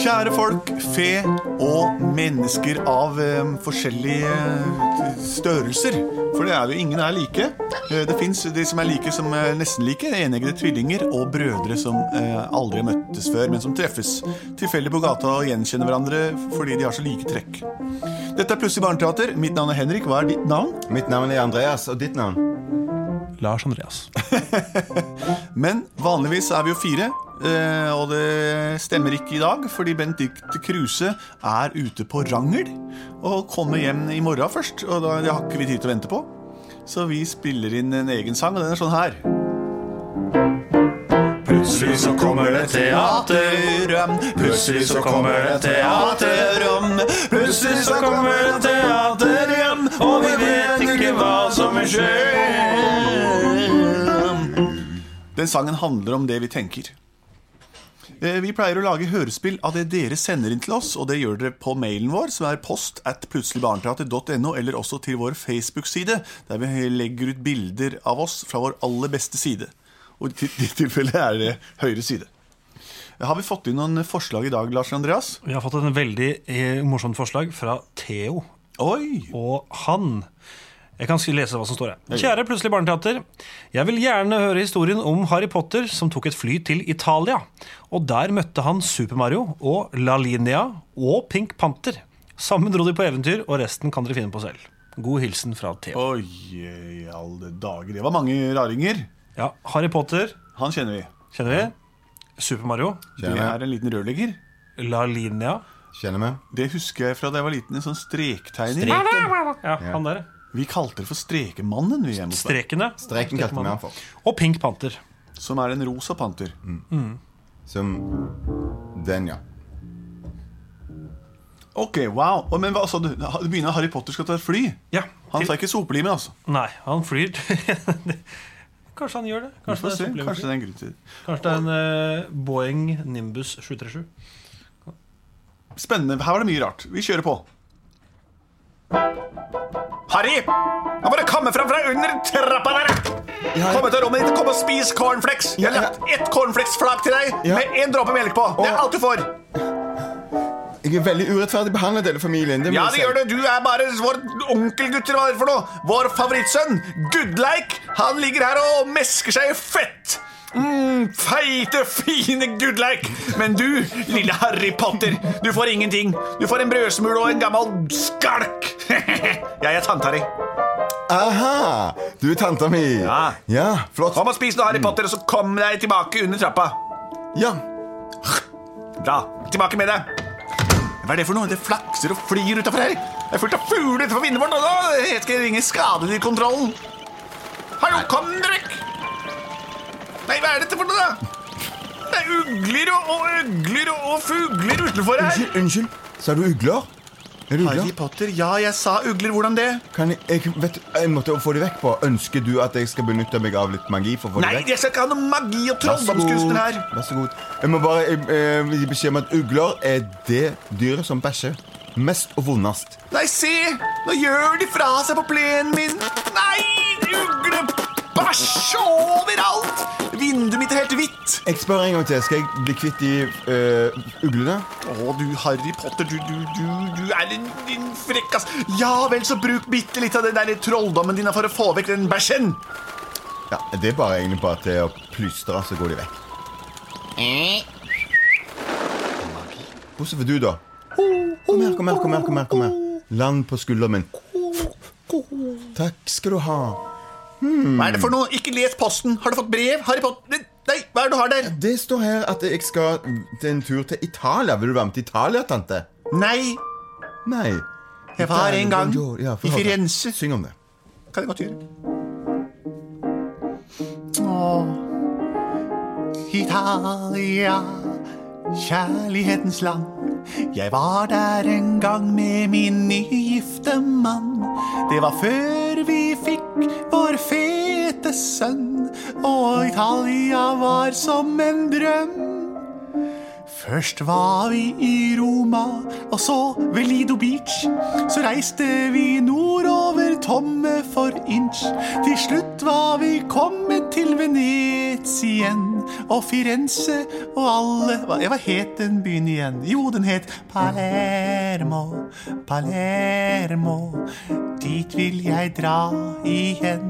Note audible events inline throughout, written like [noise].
Kjære folk, fe og mennesker av eh, forskjellige eh, størrelser. For det er jo ingen er like. Eh, det fins de som er like som er nesten like. Eneggede tvillinger og brødre som eh, aldri har møttes før, men som treffes tilfeldig på gata og gjenkjenner hverandre fordi de har så like trekk. Dette er Plutselig barneteater. Mitt navn er Henrik. Hva er ditt navn? Mitt navn er Andreas, og ditt navn? Lars Andreas. Men vanligvis er vi jo fire, eh, og det stemmer ikke i dag, fordi Benedicte Kruse er ute på rangel og kommer hjem i morgen først. Og da, det har ikke vi tid til å vente på. Så vi spiller inn en egen sang, og den er sånn her. Plutselig så kommer det Teaterum, plutselig så kommer det teaterum. Plutselig så kommer det teaterum, og vi vet ikke hva som vil skje. Den sangen handler om det vi tenker. Eh, Vi pleier å lage hørespill av det dere sender inn til oss, og det gjør dere på mailen vår, som er post at plutseligbarneteater.no, eller også til vår Facebook-side, der vi legger ut bilder av oss fra vår aller beste side. Og [laughs] i til- ditt tilfelle er det høyre side. Har vi fått inn noen forslag i dag, Lars Andreas? Vi har fått en veldig eh, morsomt forslag fra Theo Oi! og han. Jeg kan sk- lese hva som står her. Kjære Plutselig barneteater. Jeg vil gjerne høre historien om Harry Potter som tok et fly til Italia. Og der møtte han Super Mario og La Linea og Pink Panther. Sammen dro de på eventyr, og resten kan dere finne på selv. God hilsen fra Theo. Oi, i alle dager. Det var mange raringer. Ja, Harry Potter Han kjenner vi. kjenner vi. Super Mario. Det Kjenner. er en liten rørlegger. La Linea. Kjenner vi? Det husker jeg fra da jeg var liten. En sånn strektegner. Ja, han der. Vi kalte det for Strekemannen, vi hjemme hos meg. Strekene. Streken kalte vi han for. Og Pink Panther. Som er en rosa panter. Som den, ja. Ok, wow. Å, Men hva sa du? Ha- Det begynner at Harry Potter skal ta et fly. Ja, Han til- tar ikke sopelimen, altså. Nei, han flyr [laughs] Kanskje han gjør det. Vi får Kanskje det se. er, superleverfly. Kanskje det er en grunn til det. Kanskje det er en eh, Boeing Nimbus 737. Spennende. Her var det mye rart. Vi kjører på. Harry! Jeg bare kommer fram fra under trappa der! Kom ut av rommet ditt og kom og spis cornflakes! Jeg har Ja, ja. lagt ett cornflakesflak til deg Ja. med én dråpe melk på. Det er Å. alt du får. Jeg er veldig urettferdig behandlet, hele familien. Det Ja, det gjør det. Du er bare vår onkelgutter, hva er det for noe? Vår favorittsønn, Goodleik, han ligger her og mesker seg i fett. Mm, feite, fine Goodleik. Men du, lille Harry Potter, du får ingenting. Du får en brødsmule og en gammel skalk. [laughs] Jeg er tante Harry. Aha! Du er tanta mi. Ja. Ja, flott. Kom og spis noe Mm. Harry Potter, og så kom deg tilbake under trappa. Ja. Bra. Tilbake med deg. Hva er det for noe? Det flakser og flyr utafor her. Det er fullt av fugler utenfor vinduet vårt. og nå Jeg skal ringe skadedyrkontrollen. Hallo, kom dere vekk! Nei, hva er dette for noe, da? Det er ugler og, og øgler og, og fugler utenfor her. Unnskyld, unnskyld. Sa du ugler? Er du ugler? Potter, ja, jeg sa ugler. Hvordan det? Kan jeg, jeg, vet, en måte å få de vekk på. Ønsker du at jeg skal benytte meg av litt magi for å få Nei, de vekk? jeg skal ikke ha noe magi og Vær så god. trolldomskunster her. Vær så god. Jeg må bare jeg, eh, gi beskjed om at ugler er det dyret som bæsjer mest og vondest. Nei, se! Nå gjør de fra seg på plenen min. Nei, uglebæsj overalt! Vinduet mitt er helt hvitt. Jeg spør en gang til. Skal jeg bli kvitt de eh, uglene? Å, du Harry Potter, du, du, du, du er en, en frekkas Ja vel, så bruk bitte litt av den der trolldommen din for å få vekk den bæsjen. Ja, Det er bare egentlig bare til å plystre, så går de vekk. Hvordan vil du, da? Kom her, kom her, kom her. kom her, kom her. Land på skulderen min. Takk skal du ha. Hva er det for noe? Ikke les posten. Har du fått brev? Harry Potter Nei, hva er det du har der? Det står her at jeg skal til en tur til Italia. Vil du være med til Italia, tante? Nei, Nei. jeg var Italia, en gang buongiorno. Ja, få i høre. Firenze. Syng om det. Kan jeg godt gjøre. Åh. Italia, kjærlighetens land. Jeg var der en gang med min nygifte mann. Det var før vi fikk vår fete sønn, og Italia var som en drøm. Først var vi i Roma, og så ved Lido Beach. Så reiste vi nordover tomme for inch. Til slutt var vi kommet til Venezia igjen. og Firenze og alle Hva hva het den byen igjen? Jo, den het Palermo, Palermo. Dit vil jeg dra igjen.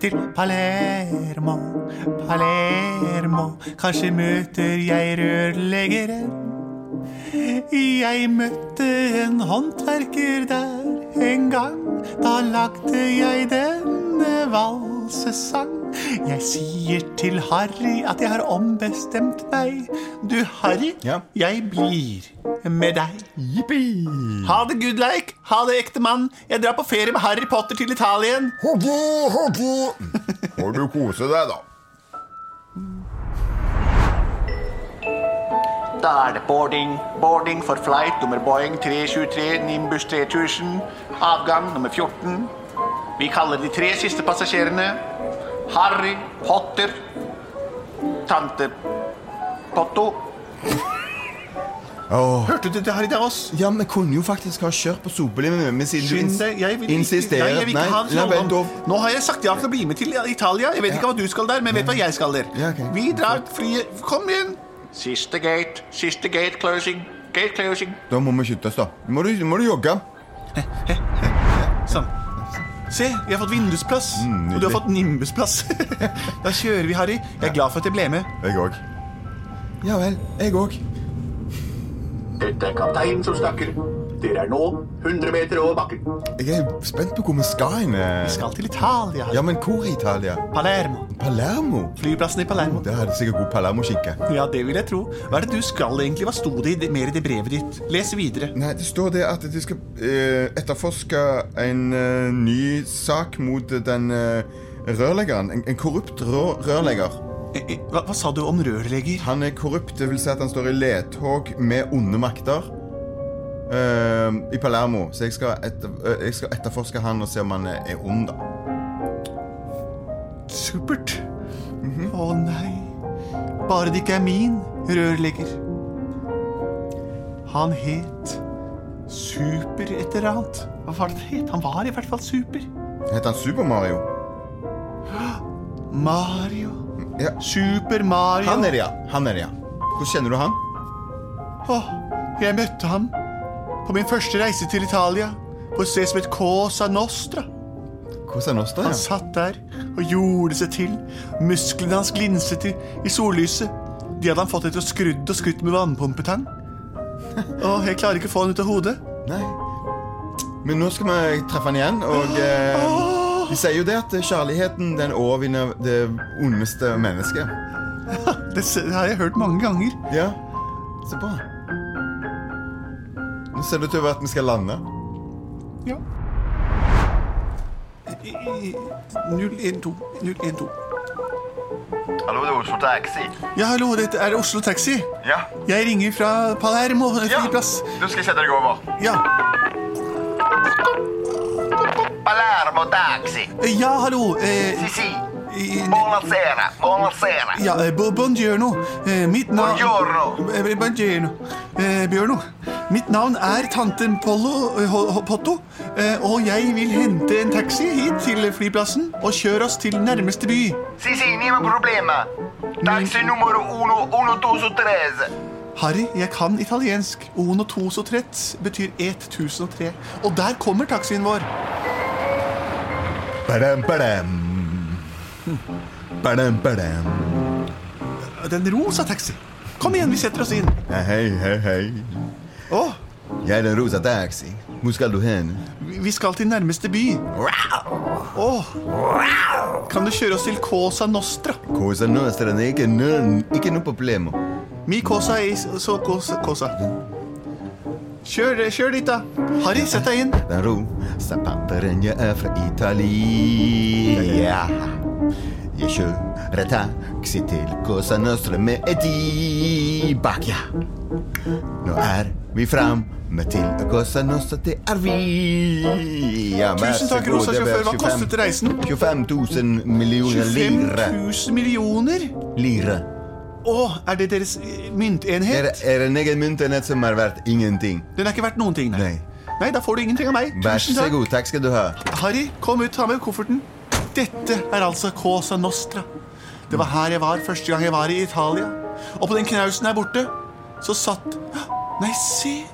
Til Palermo, Palermo. Kanskje møter jeg rørleggeren. Jeg møtte en håndverker der en gang. Da lagde jeg denne valsesang. Jeg sier til Harry at jeg har ombestemt meg. Du, Harry, Ja. jeg blir med deg. Ha det, good like. Ha det, ekte mann. Jeg drar på ferie med Harry Potter til Italien. Hoho, hoho. Får du kose deg, da. Da er det boarding. Boarding for flight nummer Boeing 323 Nimbus 3000. Avgang nummer 14. Vi kaller de tre siste passasjerene Harry Potter, tante Potto Åh. Hørte du det, Harry? Det er oss. Ja, vi kunne jo faktisk ha kjørt på sopelinjen, men siden Skynd du deg. Jeg vil ins- ikke, insisterer Nei, jeg vil ikke ha en Nei, sånn vent, da. Nå har jeg sagt ja til å bli med til Italia. Jeg vet ikke hva du skal der, men jeg vet hva jeg skal der. Ja, ok. Vi drar frie Kom igjen. Siste gate. Siste gate closing. Gate closing. Da må vi skynde oss, da. Må du, må du jogge. Sånn. Se, vi har fått vindusplass. og du har Mm, nydelig. fått nimbusplass. [laughs] da kjører vi, Harry. Jeg er glad for at jeg ble med. Jeg òg. Ja vel. Jeg òg. Dette er kapteinen som snakker. Dere er nå 100 meter over bakken. Jeg er spent på hvor vi skal hen. eh. Vi skal til Italia. Ja, men hvor i Italia? Palermo. Palermo? Flyplassen i Palermo. Der er det sikkert god palermoskinke. Ja, det vil jeg tro. Hva er det du skal egentlig? Hva sto det i- mer i det brevet ditt? Les videre. Nei, det står det at de skal eh, etterforske en eh, ny sak mot den eh, rørleggeren. En, en korrupt rå, rørlegger. Eh, eh, Hva, hva sa du om rørlegger? Han er korrupt, det vil si at han står i ledtog med onde makter eh, i Palermo. Så jeg skal, etter, eh, jeg skal etterforske han og se om han er ond, da. Supert. Mhm. Å nei. Bare det ikke er min rørlegger. Han het Super et eller annet. Hva var det det het? Han var i hvert fall super. Heter han Super-Mario? Mario. Ja. Super Mario. Han er det, ja. Han er det, ja. Hvordan kjenner du han? Åh, jeg møtte ham på min første reise til Italia. På et sted som het Cosa Nostra. Hvordan er Nostra? Han Ja? satt der og gjorde seg til. Musklene hans glinset i, i sollyset. De hadde han fått etter å skrudd og skutt med vannpumpetang. Åh, jeg klarer ikke å få han ut av hodet. Nei. Men nå skal vi treffe han igjen, og eh, de sier jo det at kjærligheten den overvinner det ondeste mennesket. Det s- det har jeg hørt mange ganger. Ja, så bra. Nå ser det ut til at vi skal lande. Ja. 012 012. Hallo, det er Oslo Taxi. Ja, hallo, dette er Oslo Taxi. Ja. Jeg ringer fra Palermo ja. flyplass. Du skal jeg sette deg over. Ja. Palermo Taxi. ja, hallo. Eh, Si, si. i- Buonasera. Buonasera. ja, eh, bu- buongiorno. Eh, mitt navn Buongiorno. Eh, buongiorno. Eh, Bjørno. Mitt navn er tante Pollo eh, Ho- Ho- Potto, eh, og jeg vil hente en taxi hit til flyplassen og kjøre oss til nærmeste by. Si, si, nima problema. Taxi numero 1213. Harry, jeg kan italiensk. Uno toso tret betyr 1003. Og der kommer taxien vår. Badam, badam. Badam, badam. Den rosa taxi. Kom igjen, vi setter oss inn. Ja, hei, hei, hei. Åh, Jeg er den rosa taxi. Hvor skal du hen? vi- vi skal til nærmeste by. Åh. Kan du kjøre oss til Cosa Nostra? Cosa nostra, det er ikke noe, ikke noe problem. Mi cosa er så cosa, cosa. Kjør, kjør dit, da. Harry, sett deg inn. Den rosa pamperen, jeg er fra Italia. Jeg kjører taxi til Cosa Nostra med Eddie bak, ja. Nå er vi framme til Cosa Nostra, det er vi. Ja, vær Tusen så takk, god, rosa det var sjåfør. Hva 25 kostet reisen? 25 000 millioner 25 lire. 000 millioner? lire. Åh, er det deres eh, Er, myntenhet? er en egen myntenhet som er verdt ingenting? Den er ikke verdt noen ting, nei. Nei. Nei, da får du ingenting av meg. Vær Tusen så takk. god, takk skal du ha. Harry, kom ut, ta med kofferten. Dette er altså Cosa Nostra. Det var her jeg var første gang jeg var i Italia. Og på den knausen her borte så satt Nei, se!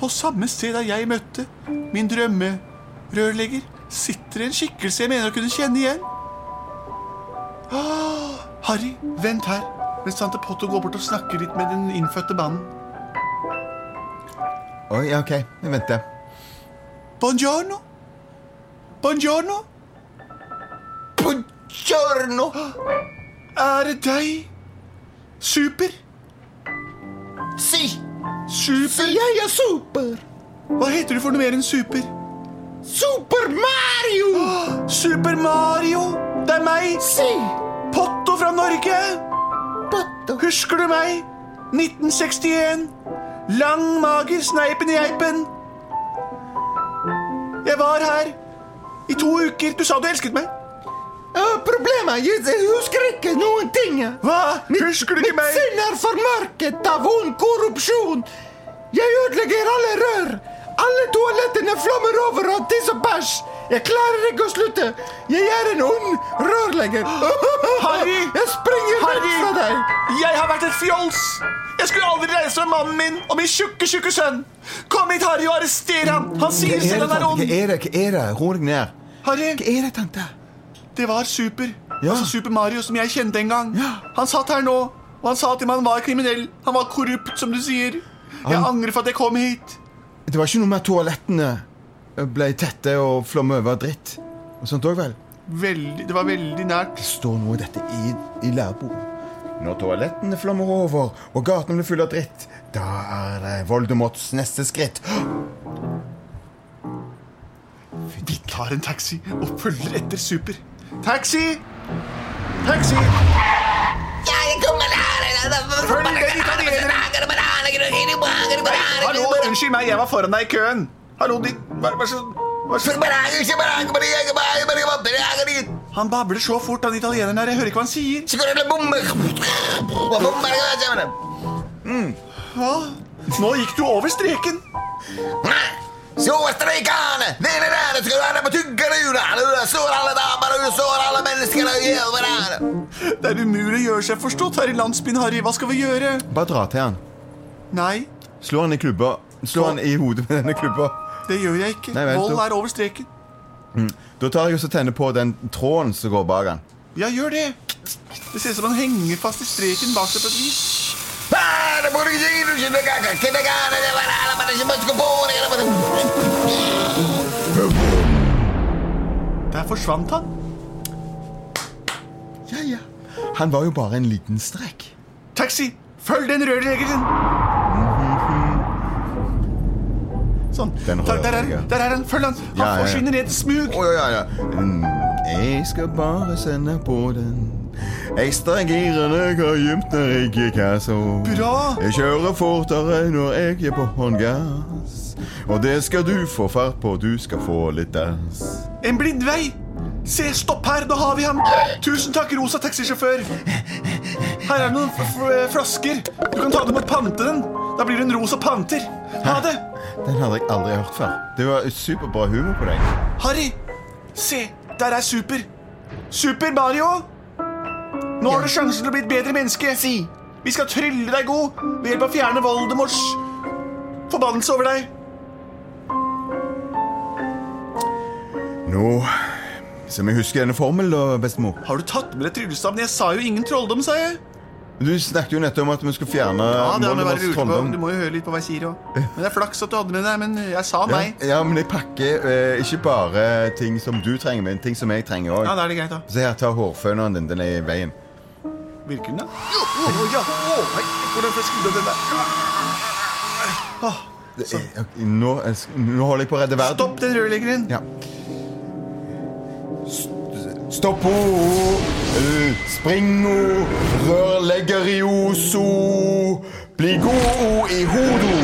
På samme sted der jeg møtte min drømmerørlegger, sitter en skikkelse jeg mener å kunne kjenne igjen. Ah, Harry, vent her mens tante Potto går bort og snakker litt med den innfødte mannen. Oi, ja, ok. Vi venter. Buongiorno. Buongiorno. Buongiorno! Er det deg? Super. Si! Super. Jeg er super! Hva heter du for noe mer enn super? Super Mario! Super Mario. Det er meg. Si! Potto fra Norge. Potto. Husker du meg? 1961. Lang mager, sneipen i geipen. Jeg var her i to uker. Du sa du elsket meg. Eh, Problemet er jeg husker ikke noen ting. Hva? Husker du ikke meg? Sinn er formørket av ond korrupsjon. Jeg ødelegger alle rør. Alle toalettene flommer over av tiss og bæsj. Jeg klarer ikke å slutte. Jeg er en ond rørlegger. Harry! Jeg springer vekk Harry! fra deg. Jeg har vært et fjols! Jeg skulle aldri reise med mannen min og min tjukke, tjukke sønn! Kom hit, Harry, og arrester ham! Han sier selv han er ond! er det? Hva er det? Ro deg ned. Harry, er det, tante? det var Super. Ja. Altså Super Mario, som jeg kjente en gang. Ja. Han satt her nå, og han sa til meg han var kriminell. Han var korrupt, som du sier. Jeg Han- angrer for at jeg kom hit. Det var ikke noe med at toalettene Eh, ble tette og flommet over av dritt. Og sånt òg, vel? Veldig, det var veldig nært. Det står noe av dette i, i læreboken. Når toalettene flommer over og gatene blir fulle av dritt, da er det Voldemorts neste skritt. [gasps] Vi tar en taxi og følger etter Super. Taxi! Taxi! Følg den italieneren! Hallo, unnskyld meg, jeg var foran deg i køen. Hallo, din Vær vær så vær så Han babler så fort, han italieneren her. Jeg hører ikke hva han sier. Hva? Nå gikk du over streken. Så streikene! Nede der skal du være på tyggerura! Du står alle damer, og du står alle mennesker og gjør hverandre! Det er umulig å gjøre seg forstått her i landsbyen, Harry. Hva skal vi gjøre? Bare dra til han. Nei, Slå han i klubba. Slå han i hodet med denne klubba. det gjør jeg ikke. Nei, vent, Vold du- er over streken. Da tar jeg også tenne på den tråden som går bak han. Ja, gjør det. Det ser ut som han henger fast i streken bak seg på et vis. Der forsvant han. Ja, ja. Han var jo bare en liten strekk. Taxi! Følg den rørleggeren! Sånn. Den Der, der, er, rørleggeren. der er han. Følg han. Han Ja, ja, får ja. sine ned i smug. Å, ja, ja, ja. Mm, Jeg skal bare sende på den. Ekstra girene går gjemt når jeg gir kassa. Bra. Jeg kjører fortere når jeg gir på håndgass. Og det skal du få fart på, du skal få litt dass. En blindvei! Se, stopp her, nå har vi ham! Tusen takk, rosa taxisjåfør. Her er det noen f f flasker. Du kan ta dem og pante den. Da blir du en rosa panter. Ha det! Den hadde jeg aldri hørt før. Det var superbra humor på deg. Harry, se, der er Super. Super Mario! Nå har du sjansen til å bli et bedre menneske. Vi skal trylle deg god ved hjelp av å fjerne Voldemorts forbannelse over deg. Nå som jeg husker denne formelen, da, bestemor. Har du tatt med deg tryllestaven? Jeg sa jo ingen trolldom, sa jeg. Du snakket jo nettopp om at vi skulle fjerne Ja, det har du vært Voldemorts lurt på. trolldom. Du må jo høre litt på hva jeg sier òg. Men det er flaks at du hadde med deg, men jeg sa Ja, nei. ja, men jeg pakker eh, ikke bare ting som du trenger, men ting som jeg trenger òg. Ja, da er det greit, da. Se her, ta hårføneren din. Den er i veien. Virker den, da? Jo, å, å, ja. Å, nei, hvordan får jeg skrudd av den der? Åh, Det er, Eh, ok, nå, er sk- nå holder jeg på å redde verden. Stopp den rørleggeren. Ja. St- Stopp ho! Eh, Spring ho! Rørlegger i oso! Bli god ho i hodo!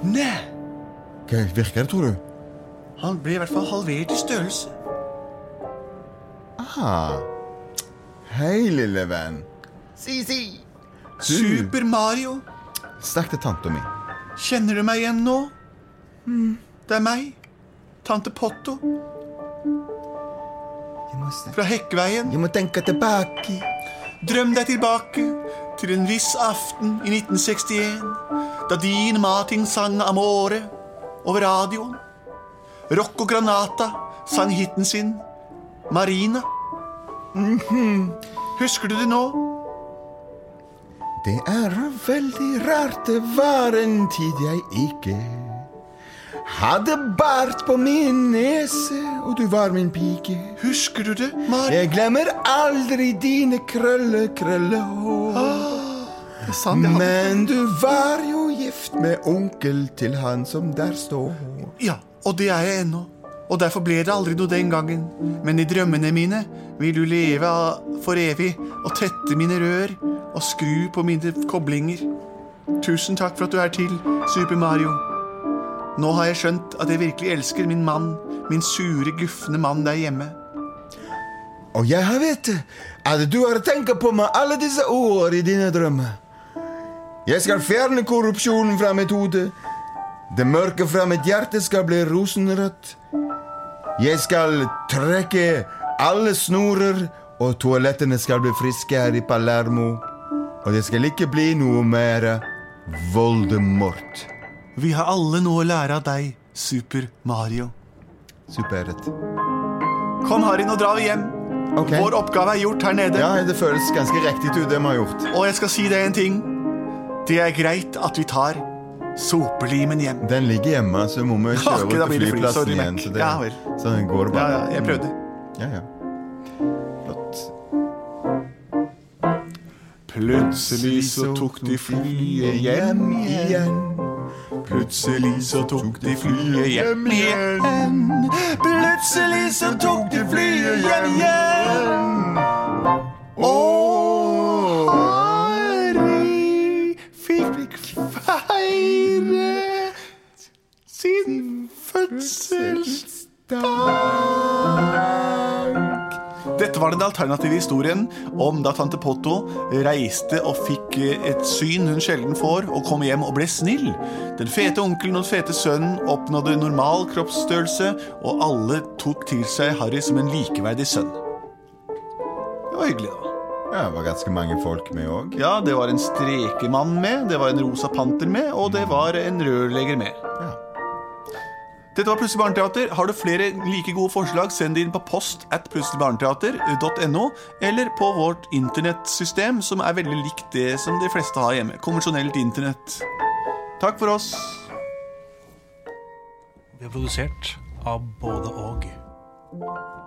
Nei. Okay, virker det, tror du? Han ble i hvert fall halvert i størrelse. Ah. Hei, lille venn. Si, si. Du, Super Mario, snakk til tanta mi. kjenner du meg igjen nå? Det er meg. Tante Potto. Jeg må, sn- Fra Hekkveien. jeg må tenke tilbake. Drøm deg tilbake til en viss aften i 1961, da din Martin sang Amore over radioen. Rocco Granata sang hiten sin Marina. Mhm. Husker du det nå? Det er veldig rart, det var en tid jeg ikke hadde bart på min nese, og du var min pike. Husker du det, Mari? Jeg glemmer aldri dine krølle, krøllehår. Det er sant, jeg hadde- Men du var jo gift med onkel til han som der står. Ja, og det er jeg ennå. Og derfor ble det aldri noe den gangen. Men i drømmene mine vil du leve av- for evig og tette mine rør og skru på mine koblinger. Tusen takk for at du er til, Super Mario. Nå har jeg skjønt at jeg virkelig elsker min mann, min sure, gufne mann der hjemme. Og jeg har vet at du har tenkt på meg alle disse år i dine drømmer. Jeg skal fjerne korrupsjonen fra mitt hode. Det mørke fra mitt hjerte skal bli rosenrødt. Jeg skal trekke alle snorer, og toalettene skal bli friske her i Palermo. Og det skal ikke bli noe mer Voldemort. Vi har alle noe å lære av deg, Super Mario. Supert. Kom, Harry, nå drar vi hjem. Ok. Vår oppgave er gjort her nede. Ja, det føles ganske riktig ut, det vi har gjort. Og jeg skal si deg en ting. Det er greit at vi tar sopelimen hjem. Den ligger hjemme, så må vi Ok, kjøre da til blir det fly. flyplassen Sorry, igjen. Mac. Så, det, Ja vel. så går Ja, det bare. ja, jeg prøvde. Ja, ja. Flott. Plutselig så tok de flyet hjem igjen. Plutselig så tok de flyet hjem igjen. Plutselig så tok de flyet hjem igjen. Og Ari fikk feire sin fødselsdag. Dette var den alternative historien om da tante Potto reiste og fikk eh, et syn hun sjelden får, og kom hjem og ble snill. Den fete onkelen og den fete sønnen oppnådde normal kroppsstørrelse, og alle tok til seg Harry som en likeverdig sønn. Det var hyggelig, da. Ja, det var ganske mange folk med òg. Ja, det var en strekemann med, det var en rosa panter med, og det var en rørlegger med. Ja. Dette var Plutselig barneteater. Har du flere like gode forslag, send det inn på post at plutseligbarneteater.no, eller på vårt internettsystem, som er veldig likt det som de fleste har hjemme. Konvensjonelt internett. Takk for oss. Vi er produsert av både og.